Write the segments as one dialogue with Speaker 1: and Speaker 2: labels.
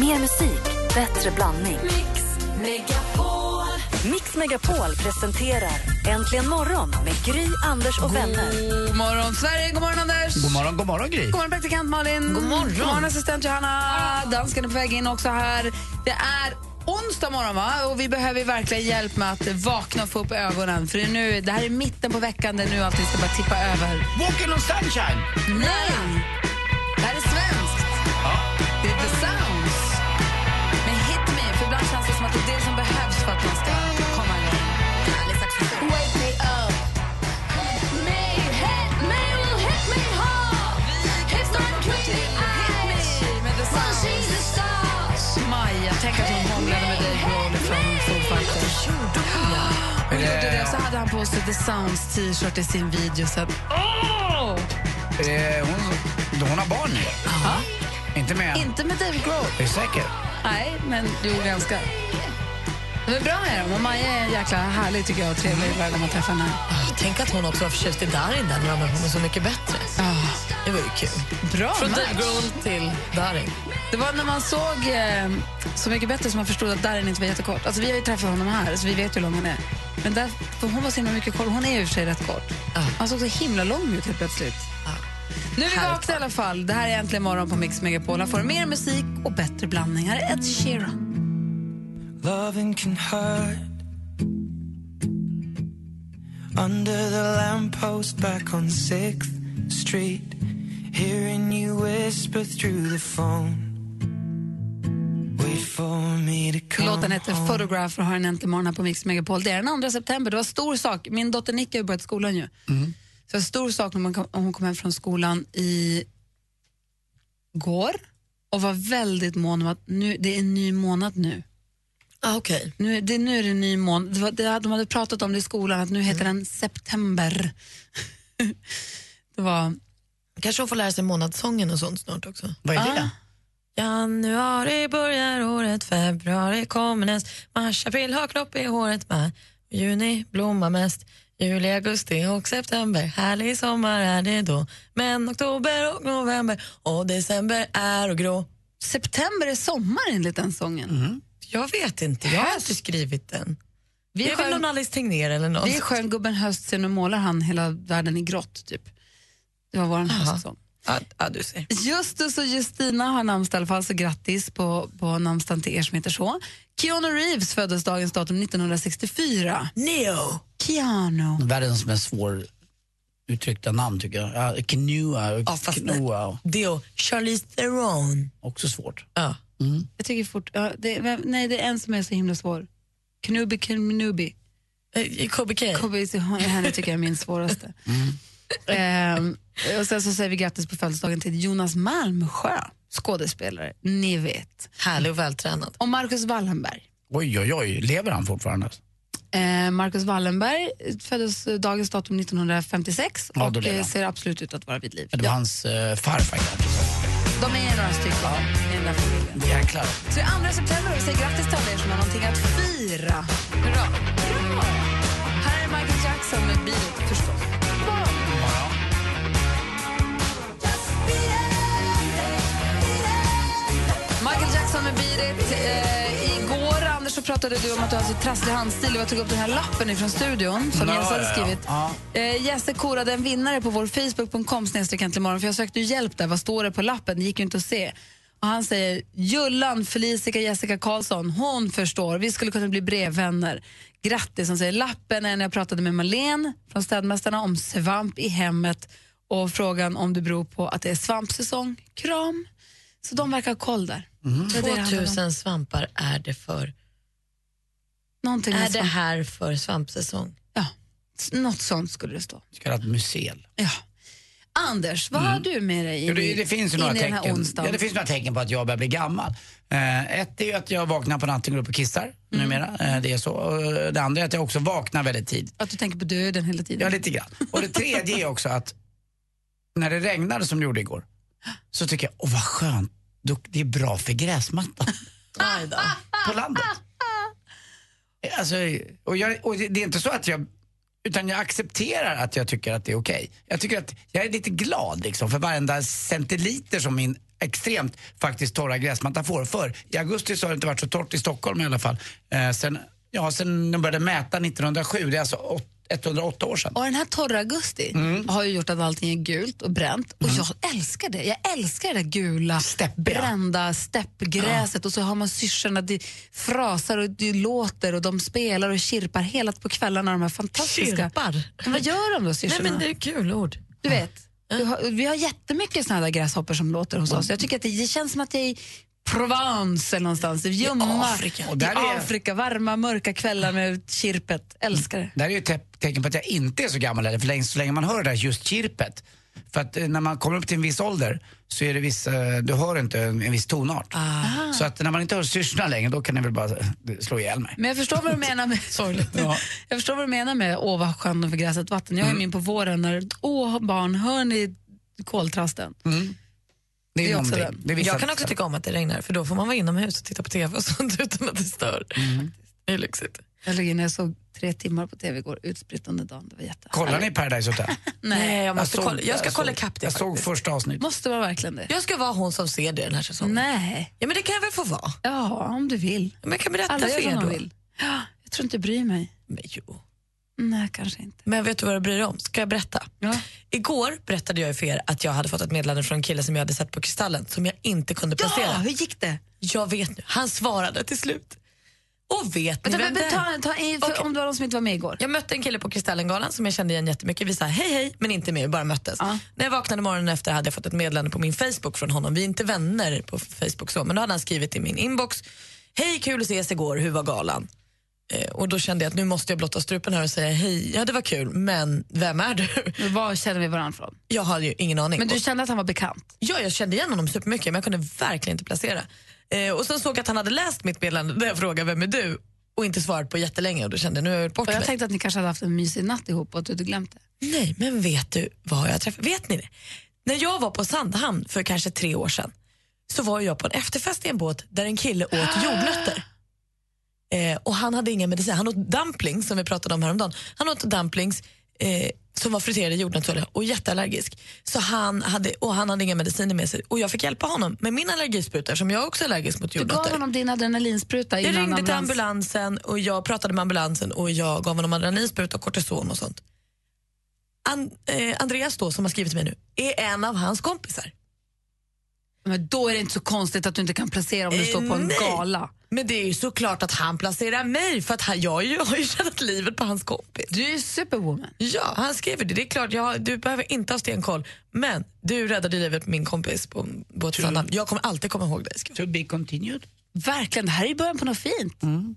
Speaker 1: Mer musik, bättre blandning.
Speaker 2: Mix Megapol.
Speaker 1: Mix Megapol presenterar Äntligen morgon med Gry, Anders och vänner.
Speaker 2: God morgon, Sverige. God morgon, Anders.
Speaker 3: God morgon, god morgon Gry.
Speaker 2: God morgon, praktikant Malin. God morgon, assistent Johanna. Dansken är på väg in också här. Det är onsdag morgon va? och vi behöver verkligen hjälp med att vakna och få upp ögonen. För det, är nu, det här är mitten på veckan, det är nu allting ska bara tippa över.
Speaker 3: Walking on sunshine!
Speaker 2: Nej! Det här är svenskt. Det är The Sounds. Men hit me, för ibland känns det som att det är det som behövs för att man ska komma igång. Härlig saxofon. Wake me up. Me, hit me, will hit me hard. It's not pretty eyes. Med The Sounds. Maja, tänk att hon hånglade med Dave Grohl från Foo Fighters. Hon gjorde det, så hade han på sig The Sounds t-shirt i sin video. Så att, åh!
Speaker 3: Eh, hon, hon har barn nu. Inte med än.
Speaker 2: Inte med Dave Grohl.
Speaker 3: Är du säker?
Speaker 2: Nej, men du är ganska. De är bra med dem och Maja är jäkla härlig tycker jag och trevlig varje gång man träffar henne.
Speaker 4: Ah, Tänk att hon också var förtjust i Darin där när de var Så mycket bättre. Det var ju kul.
Speaker 2: Ah, Bra
Speaker 4: Från Dave
Speaker 2: match.
Speaker 4: Grohl till Darin.
Speaker 2: Det var när man såg eh, Så mycket bättre som man förstod att Darin inte var jättekort. Alltså vi har ju träffat honom här så vi vet hur lång han är. Men där, för hon var så himla mycket kort. Hon är ju i och för sig rätt kort.
Speaker 4: Ja.
Speaker 2: Han såg så himla lång ut helt plötsligt. Nu är vi
Speaker 4: Härligt.
Speaker 2: vakna i alla fall. Det här är Äntligen morgon på Mix Megapol. Här får du mer musik och bättre blandningar. Ed Sheeran.
Speaker 5: Loving can hurt. Under the lamppost back on 6th Street. Hearing you whisper through the phone. Wait for me to come
Speaker 2: Låten heter
Speaker 5: home.
Speaker 2: Photograph och har en äntligen morgon här på Mix Megapol. Det är den 2 september, det var stor sak. Min dotter Nicky har ju börjat skolan ju. Så det var stor sak när man kom, om hon kom hem från skolan i går och var väldigt mån om att nu, det är en ny månad nu.
Speaker 4: Ah, Okej.
Speaker 2: nu det, nu är det en ny månad. Det var, det, de hade pratat om det i skolan att nu heter den september. det var
Speaker 4: Kanske hon får lära sig månadssången och sånt snart också.
Speaker 3: Vad är
Speaker 2: Ah.
Speaker 3: det?
Speaker 4: Januari börjar året, februari kommer näst. Mars, april har knopp i håret. Maj, juni blommar mest. Juli, augusti och september. Härlig sommar är det då. Men oktober och november och december är och grå.
Speaker 2: september är sommar enligt den sången.
Speaker 4: Jag vet inte, jag har inte skrivit den.
Speaker 2: Vi,
Speaker 4: Det är väl
Speaker 2: sjöng,
Speaker 4: någon Alice Tegnér eller något.
Speaker 2: vi sjöng Gubben Höst, sen nu målar han hela världen i grått typ. Det var vår höstsång.
Speaker 4: Ja, ja, du ser.
Speaker 2: Justus och Justina har namnsdag i alla fall, så grattis på, på namnsdagen till er som heter så. Keanu Reeves föddes dagens datum 1964.
Speaker 4: Neo.
Speaker 2: Keanu.
Speaker 3: Världens mest svår uttryckta namn tycker jag. Ja, Knua,
Speaker 4: Ja, fast nej.
Speaker 3: Knoa,
Speaker 4: Deo. Charlize Theron.
Speaker 3: också svårt.
Speaker 4: Ja.
Speaker 2: Jag tycker fort, ja, det, vem- nej, det är en som är så himla svår. Knubi Knubi.
Speaker 4: Eh, KBK.
Speaker 2: Kobe så- Henne tycker jag är min svåraste. Ehm, och sen så säger vi grattis på födelsedagen till Jonas Malmsjö, skådespelare, ni vet.
Speaker 4: Härlig och vältränad.
Speaker 2: Och Marcus Wallenberg.
Speaker 3: Oj, oj, oj. Lever han fortfarande?
Speaker 2: Eh, Marcus Wallenberg föddes eh, dagens datum 1956
Speaker 3: Ja, då
Speaker 2: och
Speaker 3: lever
Speaker 2: eh,
Speaker 3: han.
Speaker 2: ser absolut ut att vara vid liv.
Speaker 3: Det var
Speaker 2: Ja,
Speaker 3: hans eh, farfar kanske.
Speaker 2: de är några stycken i den där familjen.
Speaker 3: Jäklar.
Speaker 2: Så det är 2 september och vi säger grattis till alla er som har någonting att fira. Hurra! Bra! Här är Michael Jackson med Beat förstås. Michael Jackson med Beat It. Eh, igår, Anders, så pratade du om att du har så trasslig handstil och jag tog upp den här lappen ifrån studion som
Speaker 3: Ja,
Speaker 2: Jens hade
Speaker 3: ja, ja.
Speaker 2: skrivit.
Speaker 3: Ja.
Speaker 2: Eh, Jesse korade en vinnare på vår facebook.com snedstreck äntligen morgon, för jag sökte ju hjälp där. Vad står det på lappen? Det gick ju inte att se. Och han säger Jullan Felicia Jessica Karlsson, hon förstår. Vi skulle kunna bli brevvänner. Grattis, som säger lappen är när jag pratade med Malene från Städmästarna om svamp i hemmet och frågan om det beror på att det är svampsäsong. Kram. Så de verkar ha koll där.
Speaker 3: Mm.
Speaker 2: Det är det det handlar om.
Speaker 4: 2000 svampar är det för.
Speaker 2: Någonting
Speaker 4: Är
Speaker 2: med
Speaker 4: det
Speaker 2: svamp.
Speaker 4: här för svampsäsong?
Speaker 2: Ja. S- Något sånt skulle det stå.
Speaker 3: Så kallat musel.
Speaker 2: Ja. Anders, vad har du med dig
Speaker 3: Mm. Jo,
Speaker 2: in,
Speaker 3: det,
Speaker 2: i-
Speaker 3: det finns ju
Speaker 2: in
Speaker 3: några
Speaker 2: i den här
Speaker 3: tecken.
Speaker 2: onsdagen?
Speaker 3: Ja, det finns några tecken på att jag börjar bli gammal. Eh, ett är ju att jag vaknar på natten, går upp och kissar
Speaker 2: Mm.
Speaker 3: numera. Eh, det är så. Och det andra är att jag också vaknar väldigt tidigt.
Speaker 2: Att du tänker på döden hela tiden?
Speaker 3: Ja, lite grann. Och det tredje är också att när det regnade som det gjorde igår så tycker jag, åh vad skönt, Då- det är bra för gräsmattan
Speaker 4: Aj då.
Speaker 3: på landet. Alltså, och, jag, och det det är inte så att jag, utan jag accepterar att jag tycker att det är okej. Jag tycker att jag är lite glad liksom för varenda centiliter som min extremt faktiskt torra gräsmattan får. För i augusti så har det inte varit så torrt i Stockholm i alla fall. Eh, sen, ja, sen de började mäta 1907, det är alltså åt- 108 år sedan.
Speaker 2: Och den här torra augusti
Speaker 3: Mm.
Speaker 2: har ju gjort att allting är gult och bränt. Och jag älskar det. Jag älskar det där gula,
Speaker 3: Steppiga.
Speaker 2: brända steppgräset. Och så har man syrsorna, det frasar och det låter och de spelar och kirpar hela på kvällarna. De här fantastiska...
Speaker 4: Kirpar?
Speaker 2: Men vad gör de då,
Speaker 4: Nej,
Speaker 2: syrsorna?
Speaker 4: men det är kul ord.
Speaker 2: Du vet, du har, vi har jättemycket såna där gräshoppor som låter hos oss. Jag tycker att det, det känns som att jag är i Provence eller någonstans, i gömma,
Speaker 3: Afrika. Och
Speaker 2: I
Speaker 3: där är-
Speaker 2: Afrika, varma mörka kvällar med kirpet. Älskar det.
Speaker 3: Det här är ju ett te- tecken på att jag inte är så gammal heller, för länge, så länge man hör det där just kirpet. För att eh, när man kommer upp till en viss ålder så är det viss, eh, du hör inte en en viss tonart.
Speaker 4: Ah.
Speaker 3: Så att när man inte hör syrsorna längre då kan ni väl bara eh, slå ihjäl mig.
Speaker 2: Men jag förstår vad du menar med sorgligt.
Speaker 3: Ja.
Speaker 2: Jag förstår vad du menar med åh vad skönt de för gräset vatten. Jag är min på våren när åh barn, hör ni koltrasten?
Speaker 3: Det är,
Speaker 2: det är också
Speaker 3: någonting.
Speaker 2: det.
Speaker 3: Det är vissa-
Speaker 4: Jag kan också tycka om att det regnar, för då får man vara inomhus och titta på TV och sånt utan att det stör.
Speaker 3: Mm.
Speaker 4: Det är lyxigt.
Speaker 2: Jag låg inne, jag såg tre timmar på tv igår, utspritt under dagen. Det var jätte.
Speaker 3: Kollar ni Paradise Hotel?
Speaker 4: Nej, jag, måste
Speaker 3: såg-
Speaker 4: kolla, jag ska
Speaker 3: jag
Speaker 4: kolla
Speaker 3: såg-
Speaker 4: ikapp det
Speaker 3: Jag såg
Speaker 4: faktiskt.
Speaker 3: första avsnittet.
Speaker 2: Måste vara verkligen det?
Speaker 4: Jag ska vara hon som ser det den här säsongen.
Speaker 2: Nej.
Speaker 4: Ja, men det kan jag väl få vara?
Speaker 2: Ja, om du vill.
Speaker 4: Men jag kan berätta
Speaker 2: Alla
Speaker 4: för
Speaker 2: gör
Speaker 4: er
Speaker 2: som de
Speaker 4: då.
Speaker 2: vill. Ja, Jag tror inte jag bryr mig.
Speaker 4: Men, jo.
Speaker 2: Nej, kanske inte.
Speaker 4: men vet du vad jag bryr dig om? Ska jag berätta?
Speaker 2: Ja.
Speaker 4: Igår berättade jag ju för er att jag hade fått ett meddelande från en kille som jag hade sett på Kristallen som jag inte kunde placera.
Speaker 2: hur gick det?
Speaker 4: Jag vet nu. Han svarade till slut. Och vet ni
Speaker 2: Vänta,
Speaker 4: vem
Speaker 2: vänta,
Speaker 4: det är?
Speaker 2: ta, ta, i- för,
Speaker 4: Okej.
Speaker 2: Om det var de som inte var med igår.
Speaker 4: Jag mötte en kille på Kristallengalan som jag kände igen jättemycket. Vi sa hej hej men inte mer, vi bara möttes.
Speaker 2: Ja.
Speaker 4: När jag vaknade morgonen efter hade jag fått ett meddelande på min Facebook från honom. Vi är inte vänner på Facebook så, men då hade han skrivit i min inbox. Hej kul att ses igår, hur var galan? Eh, och då kände jag att nu måste jag blotta strupen här och säga hej, ja det var kul, men vem är du?
Speaker 2: Var känner vi varandra från?
Speaker 4: Jag hade ju ingen aning.
Speaker 2: Men
Speaker 4: Och-
Speaker 2: du kände att han var bekant?
Speaker 4: Ja, jag kände igen honom supermycket men jag kunde verkligen inte placera. Eh, och sen såg jag att han hade läst mitt meddelande där jag frågade vem är du? Och inte svarat på jättelänge och då kände jag nu har jag gjort bort
Speaker 2: Och jag
Speaker 4: mig.
Speaker 2: tänkte att ni kanske hade haft en mysig natt ihop och att du hade glömt det.
Speaker 4: Nej, men vet du vad jag träffade? Vet ni det? När jag var på Sandhamn för kanske tre år sedan så var jag på en efterfest i en båt där en kille åt jordnötter. Eh, och han hade inga mediciner. Han åt dumplings som vi pratade om häromdagen. Han åt dumplings eh, som var friterade i jordnötsolja och jätteallergisk. Så han hade, och han hade inga mediciner med sig. Och jag fick hjälpa honom med min allergispruta eftersom jag också är allergisk mot
Speaker 2: Du gav
Speaker 4: jordnötter.
Speaker 2: honom din adrenalinspruta
Speaker 4: Jag
Speaker 2: innan
Speaker 4: ringde till
Speaker 2: ambulans.
Speaker 4: ambulansen och jag pratade med ambulansen och jag gav honom adrenalinspruta och kortison och sånt. An, eh, Andreas då, som har skrivit till mig nu, är en av hans kompisar.
Speaker 2: Men då är det inte så konstigt att du inte kan placera om du
Speaker 4: Eh,
Speaker 2: står på en
Speaker 4: nej.
Speaker 2: gala.
Speaker 4: Men det är ju såklart att han placerar mig för att han, jag ju, har ju tjänat livet på hans kompis.
Speaker 2: Du är ju superwoman.
Speaker 4: Ja, han skriver det. Det är klart, jag, du behöver inte ha stenkoll. Men du räddade livet på min kompis på båten Sandhamn. Jag kommer alltid komma ihåg dig. ska jag-
Speaker 3: To be continued.
Speaker 2: Verkligen, det här är ju början på något fint.
Speaker 4: Mm.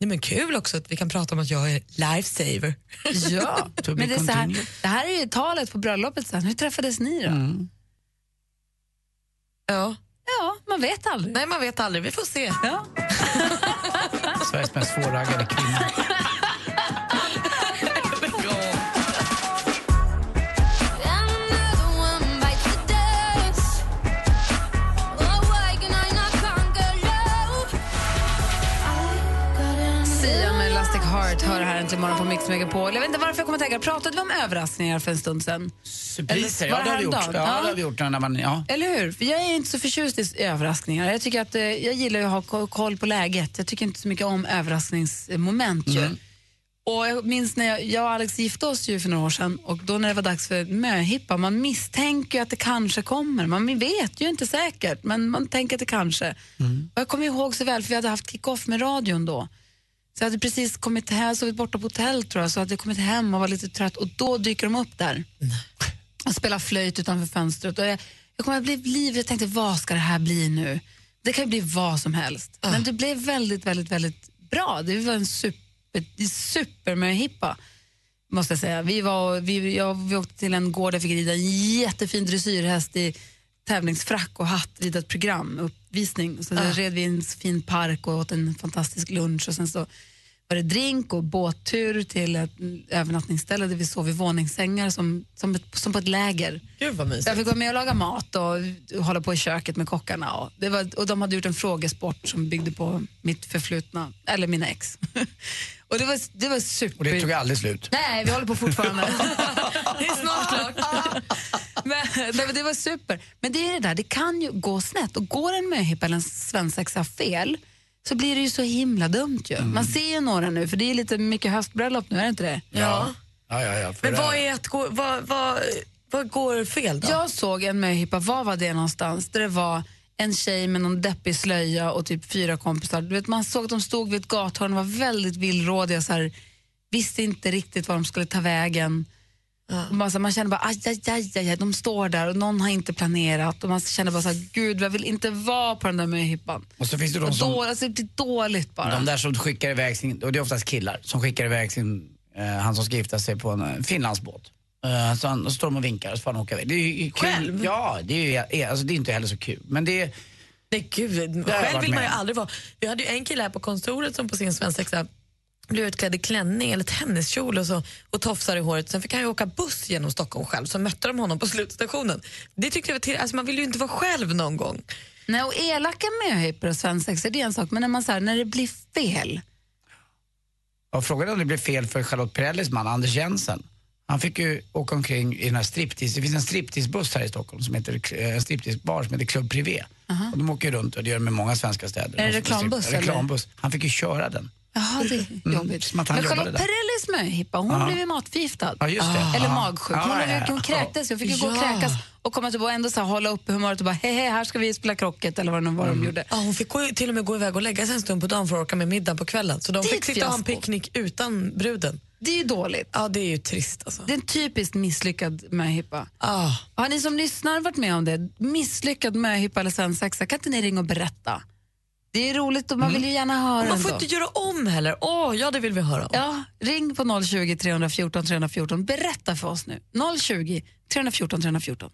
Speaker 4: Nej, men kul också att vi kan prata om att jag är lifesaver.
Speaker 2: Ja.
Speaker 3: To be
Speaker 2: Men det, är så här,
Speaker 3: continued.
Speaker 2: det här är ju talet på bröllopet sen. Hur träffades ni då?
Speaker 4: Ja.
Speaker 2: Ja, man vet aldrig.
Speaker 4: Nej, man vet aldrig. Vi får se.
Speaker 2: Ja.
Speaker 3: Sveriges mest svårraggade kvinna.
Speaker 2: Sia med Elastic Heart hör här äntligen morgon på Mix Megapol. Jag vet inte varför jag kommer att tänka, pratade vi om överraskningar för en stund sen?
Speaker 3: Surpriser,
Speaker 2: Eller
Speaker 3: ja
Speaker 2: var
Speaker 3: det har
Speaker 2: det
Speaker 3: vi gjort. Ja,
Speaker 2: häromdagen?
Speaker 3: det
Speaker 2: Ja.
Speaker 3: har vi gjort när man, ja.
Speaker 2: Eller hur? För jag är inte så förtjust i överraskningar. Jag, tycker att, eh, jag gillar ju att ha ko- koll på läget. Jag tycker inte så mycket om överraskningsmoment. Ju. Och jag minns när jag, jag och Alex gifte oss ju för några år sedan och då när det var dags för möhippa, man misstänker ju att det kanske kommer. Man vet ju inte säkert, men man tänker att det kanske. Och jag kommer ihåg så väl, för vi hade haft kick-off med radion då. Så jag hade precis kommit hem, sovit borta på hotell tror jag, så hade jag kommit hem och var lite trött och då dyker de upp där och spelar flöjt utanför fönstret. Och jag, jag kommer att bli livrädd jag tänkte, vad ska det här bli nu? Det kan ju bli vad som helst. Men det blev väldigt, väldigt, väldigt bra. Det var en super, supermöhippa, måste jag säga. Vi, var, vi, jag, vi åkte till en gård där jag fick rida en jättefin dressyrhäst i tävlingsfrack och hatt, rida ett program, uppvisning. Så där red vi i en fin park och åt en fantastisk lunch. Och sen så var det drink och båttur till ett övernattningsställe där vi sov i våningssängar som, som, ett, som på ett läger.
Speaker 4: Gud vad mysigt.
Speaker 2: Så jag fick vara med och laga mat och hålla på i köket med kockarna. Och, det var, och de hade gjort en frågesport som byggde på mitt förflutna, eller mina ex. och det var, det var super...
Speaker 3: Och det tog aldrig slut.
Speaker 2: Nej, vi håller på fortfarande.
Speaker 4: Det är snart klart.
Speaker 2: Ja. Men, nej, men det var super. Men det är det där, det kan ju gå snett. Och går en möhippa eller en svensexa fel så blir det ju så himla dumt ju. Man ser ju några nu, för det är lite mycket höstbröllop nu, är det inte det?
Speaker 4: Ja.
Speaker 3: Ja, ja, ja. För
Speaker 4: Men
Speaker 3: det-
Speaker 4: vad är att gå, vad, vad, vad går fel då?
Speaker 2: Jag såg en möhippa, var var det någonstans? Där det var en tjej med någon deppig slöja och typ fyra kompisar. Du vet, man såg att de stod vid ett gathörn och var väldigt villrådiga. Så här, visste inte riktigt var de skulle ta vägen. Och man, så, här, man kände bara aj, aj, aj, aj, aj, de står där och någon har inte planerat. Och man kände bara så här, gud, jag vill inte vara på den där möhippan.
Speaker 3: Och så finns det de
Speaker 2: Och
Speaker 3: som...
Speaker 2: då, alltså, det är dåligt bara.
Speaker 3: De där som skickar iväg sin, och det är oftast killar, som skickar iväg sin, eh, han som ska gifta sig på en eh, Finlandsbåt. Eh, så han, och så står de och vinkar och så får han åka iväg. Det är ju kul.
Speaker 4: Själv?
Speaker 3: Ja, det är ju alltså, det är inte heller så kul. Men det är,
Speaker 4: Nej gud,
Speaker 3: har jag
Speaker 4: själv
Speaker 3: varit
Speaker 4: vill man ju
Speaker 3: med om.
Speaker 4: aldrig vara. Vi hade ju en kille här på kontoret som på sin svensexa blev utklädd i klänning eller tenniskjol och, så, och tofsar i håret. Sen fick han ju åka buss genom Stockholm själv, så mötte de honom på slutstationen. Det tyckte jag var till, alltså man vill ju inte vara själv någon gång.
Speaker 2: Nej, och elaka möhippor och svensexor, det är en sak. Men när, man, så här, när det blir fel.
Speaker 3: jag frågade om det blev fel för Charlotte Perrellis man, Anders Jensen. Han fick ju åka omkring i den här striptease, det finns en stripteasebuss här i Stockholm som heter, eh, en stripteasebar som heter Club Privé. Och de åker ju runt och det gör de i många svenska städer.
Speaker 2: Är det
Speaker 3: De-
Speaker 2: reklambuss, eller?
Speaker 3: Reklambuss. Han fick ju köra den.
Speaker 2: Jaha, det är jobbigt.
Speaker 3: Mm. som att han
Speaker 2: Men
Speaker 3: jobbade
Speaker 2: Charlotte
Speaker 3: där.
Speaker 2: Perrellis möhippa, hon blev ju matförgiftad.
Speaker 3: Ja, just det.
Speaker 2: Eller
Speaker 3: Ja.
Speaker 2: magsjuk.
Speaker 3: Ja,
Speaker 2: Hon, blev,
Speaker 3: ja, ja.
Speaker 2: hon kräktes ju, fick ju gå och
Speaker 4: Ja.
Speaker 2: kräkas och komma tillbaka och ändå så här, hålla uppe humöret och bara hej, hej, här ska vi spela krocket eller vad det nu var de
Speaker 3: Mm.
Speaker 2: gjorde.
Speaker 4: Ja, hon fick gå, till och med gå iväg och lägga sig en stund på dagen för att orka med middag på kvällen. Så de
Speaker 2: Det är
Speaker 4: fick
Speaker 2: ett
Speaker 4: sitta och ha en
Speaker 2: fiasko.
Speaker 4: picknick utan bruden.
Speaker 2: Det är ju dåligt.
Speaker 4: Ja, det är ju trist alltså.
Speaker 2: Det är en typiskt misslyckad möhippa.
Speaker 4: Ah.
Speaker 2: Har ni som lyssnar varit med om det? Misslyckad möhippa eller svensexa, kan inte ni ringa och berätta? Det är roligt och man
Speaker 3: Mm.
Speaker 2: vill ju gärna höra
Speaker 4: Man får
Speaker 2: ändå.
Speaker 4: inte göra om heller. Åh, ja det vill vi höra om.
Speaker 2: Ja, ring på 020 314 314. Berätta för oss nu. 020 314 314.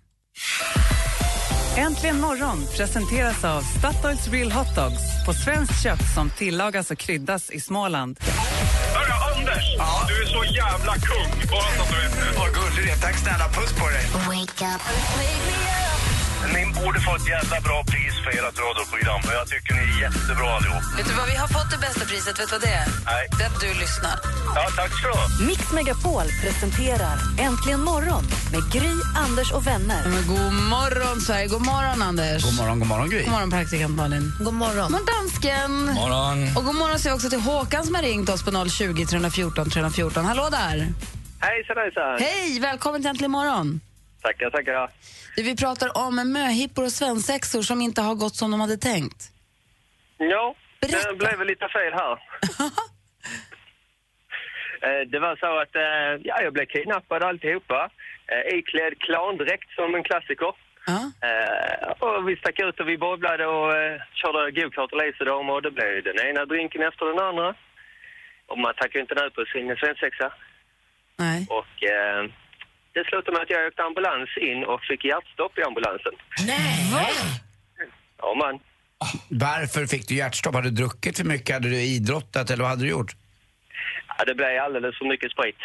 Speaker 6: Äntligen morgon presenteras av Statoils Real Hot Dogs på svenskt kött som tillagas och kryddas i Småland.
Speaker 7: Hörru, Anders! Du är så jävla kung! Bara så att du vet det.
Speaker 8: Vad gullig du är. Tack snälla. Puss på dig.
Speaker 7: Ni borde få ett jävla bra pris för ert radioprogram. för Jag tycker ni är jättebra allihop.
Speaker 2: Vet du vad, vi har fått det bästa priset. Vet du vad det är?
Speaker 7: Nej.
Speaker 2: Det är att du lyssnar.
Speaker 7: Ja, tack ska du ha.
Speaker 1: Mix Megapol presenterar Äntligen morgon med Gry, Anders och vänner.
Speaker 2: Men god morgon, Sverige. God morgon, Anders.
Speaker 3: God morgon, god morgon Gry.
Speaker 2: God morgon, praktikant Malin.
Speaker 4: God morgon.
Speaker 2: God morgon, dansken.
Speaker 9: morgon.
Speaker 2: Och god morgon säger vi också till Håkan som har ringt oss på 020 314 314. Hallå där!
Speaker 7: Hejsan, hejsan!
Speaker 2: Hej, välkommen till Äntligen morgon.
Speaker 7: Tackar, tackar.
Speaker 2: Du, vi pratar om möhippor och svensexor som inte har gått som de hade tänkt.
Speaker 7: Ja,
Speaker 2: Berätta.
Speaker 7: det blev väl lite fel här. Eh, Det var så att eh, ja, jag blev kidnappad alltihopa. Eh, Iklädd klandräkt som en klassiker.
Speaker 2: Ja.
Speaker 7: Eh, och vi stack ut och vi bowlade och eh, körde gokart och laserdam och det blev ju den ena drinken efter den andra. Och man tackar ju inte nej på sin svensexa.
Speaker 2: Nej.
Speaker 7: Och eh, det slutade med att jag åkte ambulans in och fick hjärtstopp i ambulansen. Ja, man.
Speaker 3: Varför fick du hjärtstopp? Hade du druckit för mycket? Hade du idrottat eller vad hade du gjort?
Speaker 7: Ja, det blev alldeles för mycket sprit.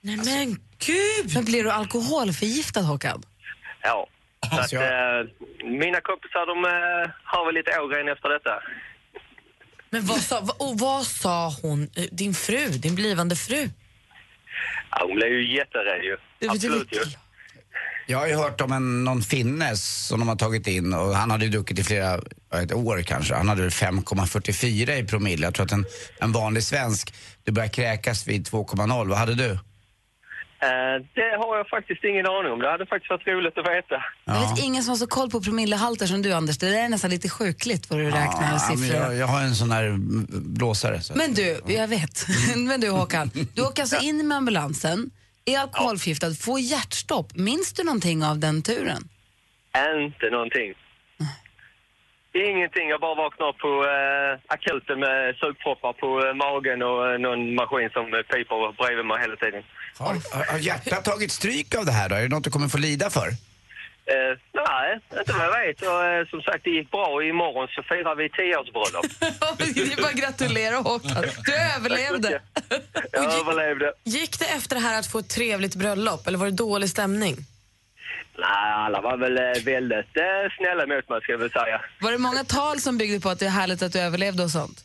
Speaker 4: Nej men gud!
Speaker 2: Men blir du alkoholförgiftad, Håkan?
Speaker 7: Ja. Så att,
Speaker 3: Alltså, jag-
Speaker 7: eh, mina kompisar de eh, har väl lite ågren efter detta.
Speaker 4: Men vad sa, vad- och vad sa hon, eh, din fru, din blivande fru?
Speaker 7: Ja, hon blev ju jätterädd ju.
Speaker 4: Det- det-
Speaker 7: Absolut ju.
Speaker 3: Jag har ju hört om en, någon finne som de har tagit in och han hade ju druckit i flera, ja, ett år kanske. Han hade väl 5,44 i promille. Jag tror att en, en vanlig svensk, du börjar kräkas vid 2,0. Vad hade du?
Speaker 7: Eh, det har jag faktiskt ingen aning om. Det hade faktiskt varit roligt att veta.
Speaker 2: Jag vet ingen som har så koll på promillehalter som du, Anders. Det där är nästan lite sjukligt vad du räknar och
Speaker 3: Ja, men
Speaker 2: siffror.
Speaker 3: jag, jag har en sån här mm, blåsare. Så.
Speaker 2: Men du, jag vet. Men du Håkan, du åker alltså in med ambulansen, är alkoholförgiftad, får hjärtstopp. Minns du någonting av den turen?
Speaker 7: Inte någonting. Ingenting. Jag bara vaknar på eh, akuten med sugproppar på eh, magen och eh, någon maskin som eh, piper bredvid mig hela tiden.
Speaker 3: har, har- har hjärtat tagit stryk av det här då? Är det något du kommer få lida för?
Speaker 7: Eh, nej, inte vad jag vet. Och, eh, som sagt, det gick bra. Imorgon så firar vi tioårsbröllop.
Speaker 2: det är bara att gratulera Håkan. Du överlevde.
Speaker 7: Jag överlevde.
Speaker 4: Gick det efter det här att få ett trevligt bröllop eller var det dålig stämning?
Speaker 7: Nej, alla var väl eh, väldigt eh, snälla mot mig, ska jag väl säga.
Speaker 2: Var det många tal som byggde på att det är härligt att du överlevde och sånt?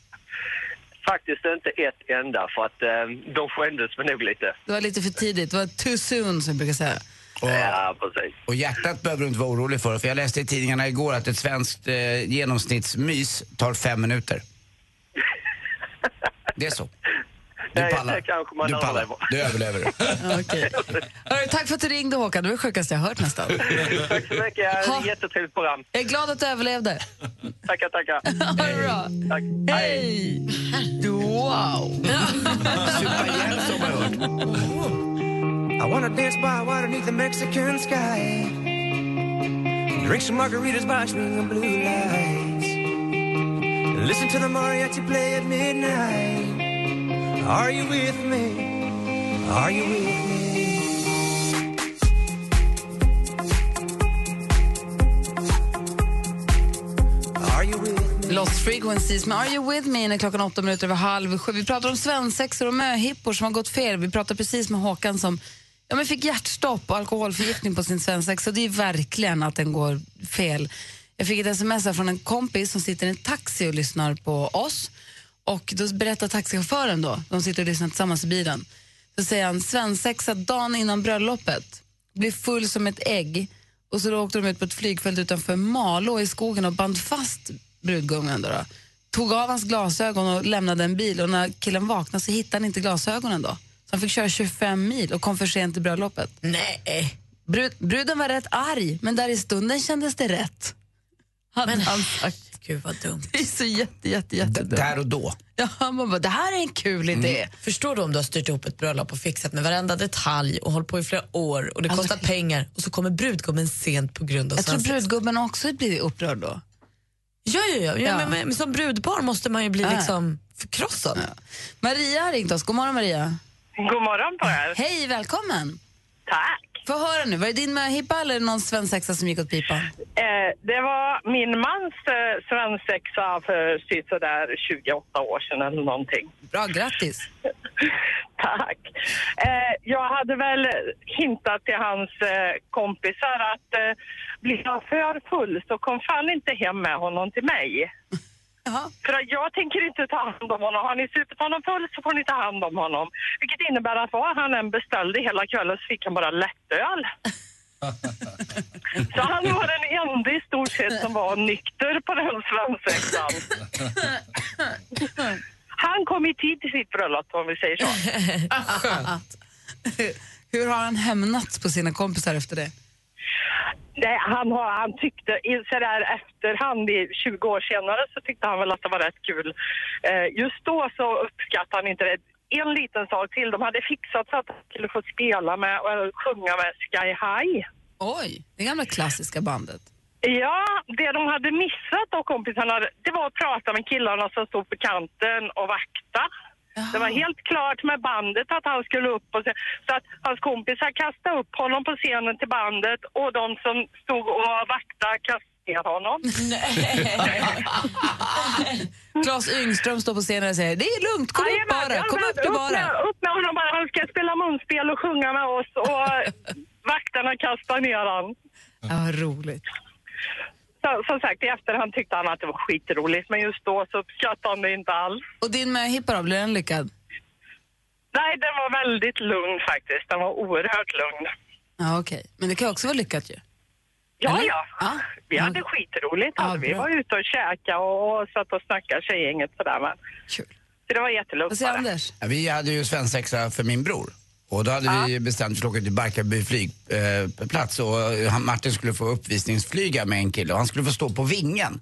Speaker 7: Faktiskt inte ett enda, för att eh, de skämdes mig nog lite.
Speaker 2: Det var lite för tidigt, det var too soon som vi brukar säga.
Speaker 3: Och,
Speaker 10: Ja, precis.
Speaker 3: och hjärtat behöver du inte vara orolig för. För jag läste i tidningarna igår att ett svenskt eh, genomsnittsmys tar fem minuter. Det är så. Du
Speaker 10: Nej,
Speaker 3: pallar.
Speaker 10: det kanske man
Speaker 3: Du pallar.
Speaker 10: överlever.
Speaker 3: Du överlever.
Speaker 2: Okej. Hörru, tack för att du ringde Håkan, det var det sjukaste jag hört nästan.
Speaker 10: Tack så mycket.
Speaker 2: Ha.
Speaker 10: Jättetrevligt program.
Speaker 2: Jag är glad att du överlevde.
Speaker 10: Tackar, tackar.
Speaker 2: Ha det bra.
Speaker 10: Tack.
Speaker 2: Hej! Wow!
Speaker 3: Supa ihjäl sig har man hört.
Speaker 5: I wanna dance by water beneath the Mexican sky. Drink some margaritas by string of blue lights. Listen to the mariachi play at midnight. Are you with me? Are you with me? Are you with me?
Speaker 2: Lost Frequencies med Are You With Me när klockan åtta minuter över halv sju. Vi pratar om svensexor och möhippor som har gått fel. Vi pratade precis med Håkan som ja, men fick hjärtstopp och alkoholförgiftning på sin svensexa. Och Det är verkligen att den går fel. Jag fick ett sms här från en kompis som sitter i en taxi och lyssnar på oss. Och Då berättar taxichauffören, då, de sitter och lyssnar tillsammans i bilen. Då säger han svensexa dagen innan bröllopet, blir full som ett ägg. Och så då åkte de ut på ett flygfält utanför Malå i skogen och band fast brudgummen. Då då. Tog av hans glasögon och lämnade en bil och när killen vaknade så hittade han inte glasögonen då. Så han fick köra 25 mil och kom för sent till bröllopet.
Speaker 11: Nej.
Speaker 2: Brud, bruden var rätt arg, men där i stunden kändes det rätt. Hade han sagt.
Speaker 11: Gud vad dumt.
Speaker 2: Det är så jätte, jätte,
Speaker 3: D-
Speaker 2: jätte
Speaker 3: Där och då.
Speaker 2: Ja, man bara, det här är en kul idé.
Speaker 11: Förstår du om du har styrt ihop ett bröllop och fixat med varenda detalj och hållit på i flera år och det
Speaker 2: Alltså-
Speaker 11: kostar pengar och så kommer brudgummen sent på grund av
Speaker 2: Jag tror
Speaker 11: svensexa.
Speaker 2: brudgummen också blir upprörd då.
Speaker 11: Ja, ja, ja. ja,
Speaker 2: Ja.
Speaker 11: Men, men som brudpar måste man ju bli liksom förkrossad.
Speaker 2: Maria har ringt oss. God morgon Maria.
Speaker 7: God morgon på er.
Speaker 2: Hej, välkommen.
Speaker 7: Tack.
Speaker 2: Få höra nu, var det din möhippa eller någon svensexa som gick åt pipan?
Speaker 7: Eh, det var min mans eh, svensexa för sådär 28 år sedan eller någonting.
Speaker 2: Bra, grattis.
Speaker 7: Tack. Eh, jag hade väl hintat till hans eh, kompisar att eh, blir jag för full så kom fan inte hem med honom till mig.
Speaker 2: Jaha.
Speaker 7: För att jag tänker inte ta hand om honom. Har ni supit honom full så får ni ta hand om honom. Vilket innebär att vad han än beställde hela kvällen så fick han bara lättöl. så han var den enda i stort sett som var nykter på den svensexan. Han kom i tid till sitt bröllop om vi säger så.
Speaker 2: Hur har han hämnats på sina kompisar efter det?
Speaker 7: Nej, han, har, han tyckte, i- så där efterhand, i 20 år senare, så tyckte han väl att det var rätt kul. Eh, just då så uppskattade han inte det. En liten sak till, de hade fixat så att han skulle få spela med och sjunga med Sky High.
Speaker 2: Oj, det gamla klassiska bandet.
Speaker 7: Ja, det de hade missat då kompisarna, det var att prata med killarna som stod på kanten och vakta. Det var helt klart med bandet att han skulle upp och se, så att hans kompisar kastade upp honom på scenen till bandet och de som stod och vaktade kastade ner honom.
Speaker 2: Claes Yngström står på scenen och säger det är lugnt, kom upp
Speaker 7: Jajamän,
Speaker 2: bara, kom
Speaker 7: jajamän,
Speaker 2: upp du bara.
Speaker 7: Med, upp med honom bara, han ska spela munspel och sjunga med oss och vakterna kastar ner honom.
Speaker 2: Ja, vad roligt.
Speaker 7: Så, som sagt, i efterhand tyckte han att det var skitroligt men just då så uppskattade han det inte alls.
Speaker 2: Och din möhippa då, blir den lyckad?
Speaker 7: Nej, den var väldigt lugn faktiskt. Den var oerhört lugn.
Speaker 2: Ja, okej. Men det kan ju också vara lyckat ju.
Speaker 7: Ja,
Speaker 2: Eller?
Speaker 7: ja.
Speaker 2: Ja.
Speaker 7: Vi hade skitroligt.
Speaker 2: Ja,
Speaker 7: alltså, vi
Speaker 2: bra.
Speaker 7: var ute och käkade och, och satt och snackade tjejgänget sådär. Men,
Speaker 2: Kul.
Speaker 7: så det var jättelugnt
Speaker 2: Vad säger
Speaker 7: bara.
Speaker 2: Anders?
Speaker 3: Ja, Vi hade ju svensexa för min bror. Och då hade vi bestämt för att åka till Barkarby flygplats eh, plats och eh, han, Martin skulle få uppvisningsflyga med en kille och han skulle få stå på vingen.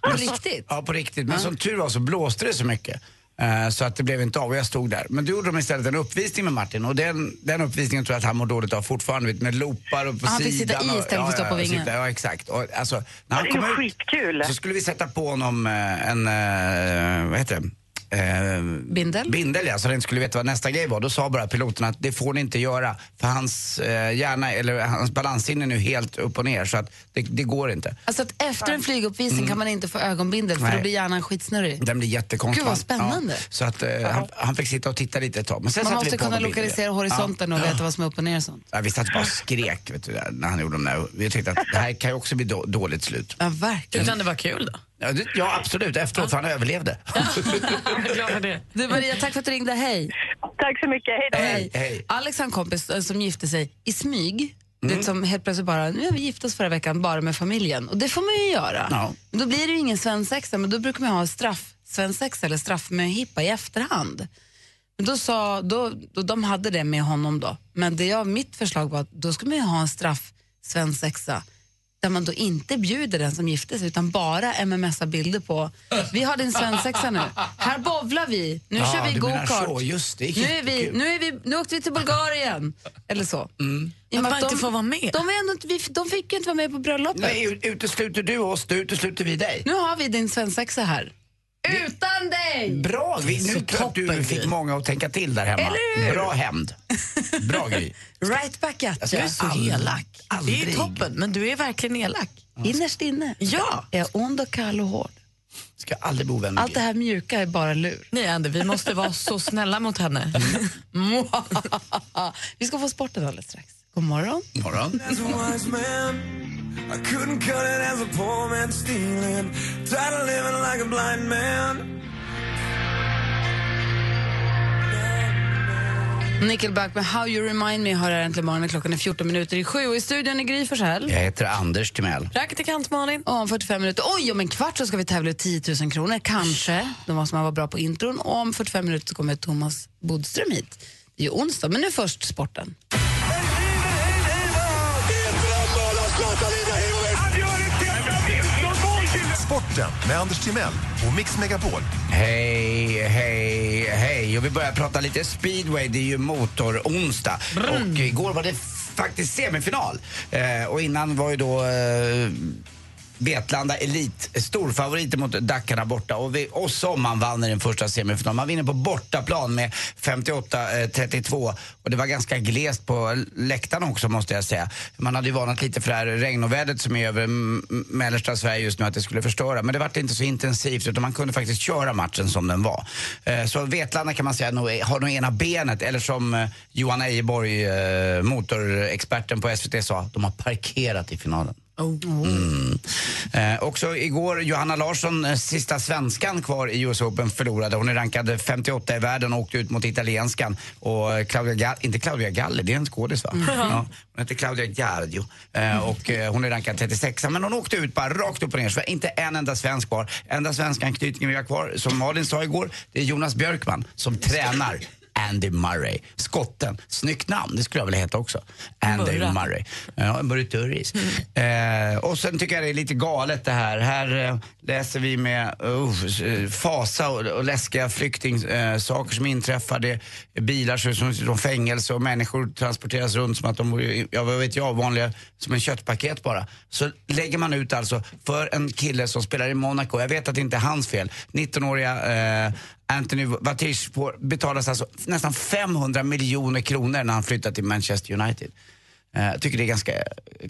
Speaker 2: På riktigt?
Speaker 3: Ja, på riktigt. Men som tur var så blåste det så mycket. eh, Så att det blev inte av och jag stod där. Men då gjorde de istället en uppvisning med Martin och den, den uppvisningen tror jag att han mår dåligt av fortfarande. vet, Med loopar och på
Speaker 2: Ah, han fick
Speaker 3: sidan.
Speaker 2: sitta i
Speaker 3: och-
Speaker 2: istället för att stå
Speaker 3: ja,
Speaker 2: på
Speaker 3: ja,
Speaker 2: vingen.
Speaker 3: sitta- Ja, exakt. Och, alltså, när han
Speaker 7: Det är ju
Speaker 3: kom ut
Speaker 7: skitkul.
Speaker 3: så skulle vi sätta på honom eh, en, eh, vad heter det? Eh,
Speaker 2: Bindel?
Speaker 3: Bindel ja, så den skulle veta vad nästa grej var. Då sa bara piloten att det får ni inte göra för hans eh, hjärna, eller hans balanssinne är nu helt upp och ner så att det, det går inte.
Speaker 2: Alltså att efter en flyguppvisning kan man inte få ögonbindel för då
Speaker 3: Nej.
Speaker 2: blir hjärnan skitsnurrig.
Speaker 3: Den blir jättekonstig.
Speaker 2: Gud, vad spännande.
Speaker 3: Ja, så att eh, han, han fick sitta och titta lite ett tag. Men sen
Speaker 2: Man
Speaker 3: satte vi
Speaker 2: måste
Speaker 3: på
Speaker 2: kunna
Speaker 3: honom bilder.
Speaker 2: lokalisera horisonten och veta vad som är upp och ner och sånt.
Speaker 3: Ja, vi satt bara och skrek vet du, där, när han gjorde de där. Vi tyckte att det här kan ju också bli då, dåligt slut.
Speaker 2: Ja, verkligen.
Speaker 11: Utan det var kul då.
Speaker 3: Ja, det, ja absolut. Efteråt, för han överlevde.
Speaker 11: Jag är glad för det.
Speaker 2: Du Maria, tack för att du ringde. Hej.
Speaker 7: Tack så mycket. Hej då.
Speaker 3: Hej, Mm. hej.
Speaker 2: Alex har en kompis eh, som gifte sig i smyg Det som helt plötsligt bara, nu har vi gift oss förra veckan bara med familjen. Och det får man ju göra.
Speaker 3: Ja.
Speaker 2: Men då blir det ju ingen svensexa, men då brukar man ju ha straff, svensexa eller straffmöhippa i efterhand. Men då sa, då, då, de hade det med honom då. Men det jag, mitt förslag var att då ska man ju ha en straff svensexa där man då inte bjuder den som gifte sig utan bara mmsar bilder på vi har din svensexa nu, här bovlar vi, nu
Speaker 3: Ja,
Speaker 2: kör vi
Speaker 3: du menar
Speaker 2: gokart.
Speaker 3: så, just det.
Speaker 2: Nu, är vi, nu, är vi, nu åkte vi till Bulgarien. Eller så.
Speaker 3: Mm.
Speaker 2: I och med
Speaker 11: Att man inte får vara med.
Speaker 2: De, är ändå, inte- vi, de fick ju inte vara med på bröllopet.
Speaker 3: Nej, utesluter du oss, då utesluter vi dig.
Speaker 2: Nu har vi din svensexa här. Utan dig!
Speaker 3: Bra! Vi, nu tror jag att du fick många att tänka till där hemma.
Speaker 2: Eller hur?
Speaker 3: Bra hämnd. Bra grej.
Speaker 11: Right back at
Speaker 3: Alltså,
Speaker 11: you.
Speaker 3: jag är så elak.
Speaker 11: Det är ju
Speaker 3: Aldrig.
Speaker 11: toppen, men du är verkligen elak.
Speaker 2: Innerst inne
Speaker 11: Ja.
Speaker 2: är jag ond och kall och hård.
Speaker 3: Ska jag aldrig bo vän med
Speaker 2: Allt det här mjuka är bara lur.
Speaker 11: Nej, Andy, vi måste vara så snälla mot henne.
Speaker 2: vi ska få sporten alldeles strax. God morgon.
Speaker 3: Gud. Morgon.
Speaker 5: As a wise man, I couldn't cut it as a poor man stealing. Tired of living like a blind man.
Speaker 2: Nickelback med How You Remind Me har här äntligen morgonen. Klockan är 14 minuter i sju och i studion är Gry Forssell.
Speaker 3: Jag heter Anders Timell.
Speaker 11: Praktikant Malin.
Speaker 2: Och om 45 minuter, oj om en kvart så ska vi tävla ut 10 000 kronor, kanske. Det var som man var bra på intron. Och om 45 minuter så kommer Thomas Bodström hit. Det är ju onsdag, men nu först sporten.
Speaker 12: Sporten med Anders Timell och Mix Megapol.
Speaker 3: Hej, hej, hej. Och vi börjar prata lite speedway. Det är ju motoronsdag. Och igår var det faktiskt semifinal. Eh, och innan var ju då eh, Vetlanda Elit storfavoriter mot Dackarna borta. Och, vi, och Somman vann i den första semifinalen. Man vinner på bortaplan med 58-32. Och det var ganska glest på läktaren också måste jag säga. Man hade ju varnat lite för det här regnovädret som är över m- m- mellersta Sverige just nu att det skulle förstöra. Men det var inte så intensivt utan man kunde faktiskt köra matchen som den var. Eh, Så Vetlanda kan man säga nog är- har nog ena benet eller som eh, Johan Ejeborg, eh, motorexperten på SVT sa, de har parkerat i finalen. Mm. Eh, också igår, Johanna Larsson, eh, sista svenskan kvar i US Open, förlorade. Hon är rankad 58 i världen och åkte ut mot italienskan. Och eh, Claudia Ga- inte Claudia Galli, det är en skådis va? Ja, hon heter Claudia Giardio. Eh, och eh, hon är rankad 36 men hon åkte ut bara rakt upp och ner. Så det är inte en enda svensk kvar. Enda svenskanknytningen vi har kvar, som Malin sa igår, det är Jonas Björkman som tränar. Andy Murray, skotten. Snyggt namn, det skulle jag vilja heta också. Andy
Speaker 11: Murra.
Speaker 3: Murray. Murray. Ja, en Burriturris. Eh, och sen tycker jag det är lite galet det här. Här eh, läser vi med uh, fasa och, och läskiga flyktingsaker som inträffar. Det är bilar som som- från fängelse och människor transporteras runt som att de vore, ja, vad vet jag, vanliga, som en köttpaket bara. Så lägger man ut alltså för en kille som spelar i Monaco, jag vet att det inte är hans fel, 19-åriga eh, Anthony Vatish får- betalas alltså nästan 500 miljoner kronor när han flyttar till Manchester United. Eh, Jag tycker det är ganska eh,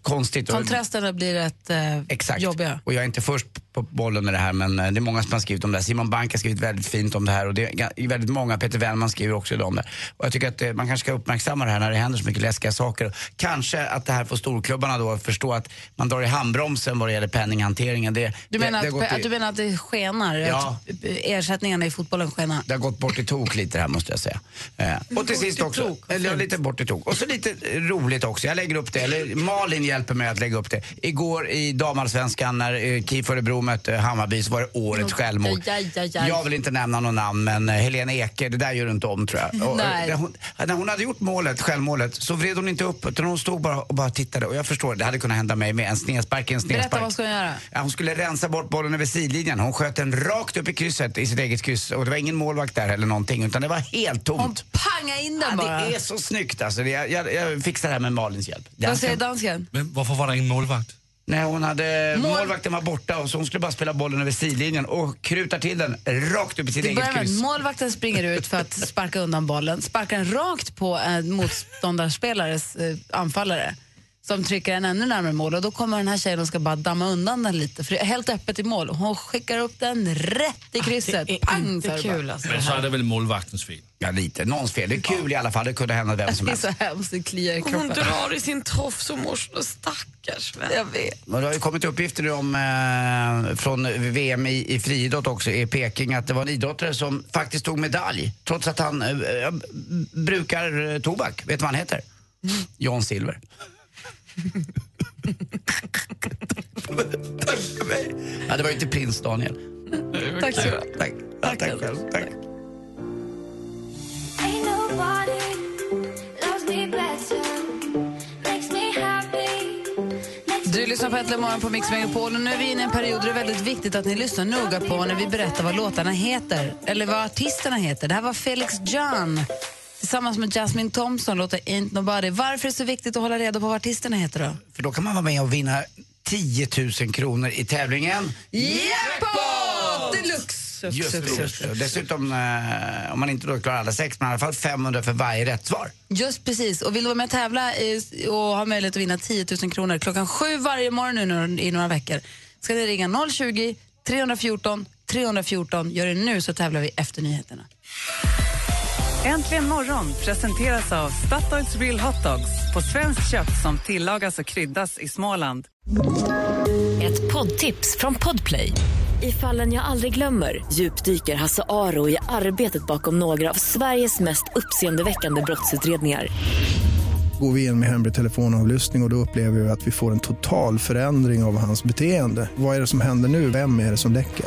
Speaker 3: konstigt. och-
Speaker 2: Kontrasterna blir rätt eh,
Speaker 3: Exakt.
Speaker 2: jobbiga.
Speaker 3: Och jag är inte först på bollen med det här men eh, det är många som har skrivit om det här. Simon Bank har skrivit väldigt fint om det här och det är ga- väldigt många, Peter Wellman skriver också idag om det. Och jag tycker att eh, man kanske ska uppmärksamma det här när det händer så mycket läskiga saker. Kanske att det här får storklubbarna då att förstå att man drar i handbromsen vad det gäller penninghanteringen. Det,
Speaker 2: Du menar,
Speaker 3: det, det, har
Speaker 2: att,
Speaker 3: gått i-
Speaker 2: att, du menar att det skenar?
Speaker 3: Ja.
Speaker 2: Att eh, ersättningarna i fotbollen skenar?
Speaker 3: det har gått bort i tok lite det här måste jag säga. Eh, och till sist också, eller ja, lite bort i tok. Och så lite eh, roligt också, jag lägger upp det, eller Malin hjälper mig att lägga upp det. Igår i damallsvenskan när eh, KIF Örebro mötte Hammarby så var det årets självmord.
Speaker 2: aj, aj, aj.
Speaker 3: Jag vill inte nämna någon namn men eh, Helena Eke, det där gör du inte om tror jag. Och, eh,
Speaker 2: Nej.
Speaker 3: när, hon, när hon hade gjort målet, självmålet, så vred hon inte upp utan hon stod bara och bara tittade. Och jag förstår, det hade kunnat hända mig med en snedspark i en snedspark.
Speaker 2: Berätta, vad ska hon göra?
Speaker 3: Ja, hon skulle rensa bort bollen över sidlinjen. Hon sköt den rakt upp i krysset, i sitt eget kryss. Och det var ingen målvakt där eller någonting, utan det var helt
Speaker 2: Hon
Speaker 3: tomt.
Speaker 2: pangar in den
Speaker 3: Ja,
Speaker 2: bara.
Speaker 3: det är så snyggt alltså. Det- Jag, jag, jag fixar det här med Malins hjälp.
Speaker 2: Vad säger dansken?
Speaker 13: Men varför var det ingen målvakt?
Speaker 3: Nej, hon hade,
Speaker 2: Mål-
Speaker 3: Målvakten var borta och så hon skulle bara spela bollen över sidlinjen och krutar till den rakt upp i sitt
Speaker 2: Det
Speaker 3: eget
Speaker 2: börjar med att
Speaker 3: kryss.
Speaker 2: målvakten springer ut för att sparka undan bollen. Sparkar den rakt på en motståndarspelares eh, anfallare som trycker den ännu närmare mål. Och då kommer den här tjejen och ska bara damma undan den lite. För det är helt öppet i mål. Hon skickar upp den rätt i krysset.
Speaker 11: Ah, Det är
Speaker 2: Pang!
Speaker 11: inte
Speaker 2: sa det
Speaker 11: kul
Speaker 2: bara.
Speaker 11: alltså.
Speaker 13: Men så är det väl målvaktens fel.
Speaker 3: Ja, lite. Någons fel. Det är kul i alla fall. Det kunde hända vem som
Speaker 2: Det är
Speaker 3: helst.
Speaker 2: så hemskt, det kliar i
Speaker 11: Hon
Speaker 2: kroppen.
Speaker 11: drar i sin tofs och mår så stackars vän.
Speaker 2: Jag vet.
Speaker 3: Och det har ju kommit uppgifter nu om, eh, från VM i, i friidrott också i Peking att det var en idrottare som faktiskt tog medalj trots att han eh, Mm. eh, brukar eh, tobak. Vet du vad han heter? John Silver. Tack för mig. Ja, det var ju inte prins Daniel.
Speaker 4: Tack så
Speaker 3: mycket. Tack. Ja, tack själv. Tack.
Speaker 2: Du lyssnar på Äntligen morgon på Mix Megapol och nu är vi inne i en period där det är väldigt viktigt att ni lyssnar noga på när vi berättar vad låtarna heter, eller vad artisterna heter. Det här var Felix John tillsammans med Jasmine Thompson, låten Ain't Nobody. Varför är det så viktigt att hålla reda på vad artisterna heter då?
Speaker 3: För då kan man vara med och vinna 10 000 kronor i tävlingen.
Speaker 2: Jackpot! Deluxe!
Speaker 3: Just det. just det. Dessutom, eh, om man inte då klarar alla sex, men i alla fall 500 för varje rätt svar.
Speaker 2: Just precis. Och vill du vara med och tävla eh, och ha möjlighet att vinna 10 000 kronor klockan sju varje morgon nu när- i några veckor ska ni ringa 020-314 314. Gör det nu så tävlar vi efter nyheterna.
Speaker 6: Äntligen morgon presenteras av Statoils Real Hot Dogs på svenskt kött som tillagas och kryddas i Småland.
Speaker 1: Ett poddtips från Podplay. I fallen jag aldrig glömmer djupdyker Hasse Aro i arbetet bakom några av Sveriges mest uppseendeväckande brottsutredningar.
Speaker 14: Går vi in med hemlig telefonavlyssning och, och då upplever vi att vi får en total förändring av hans beteende. Vad är det som händer nu? Vem är det som läcker?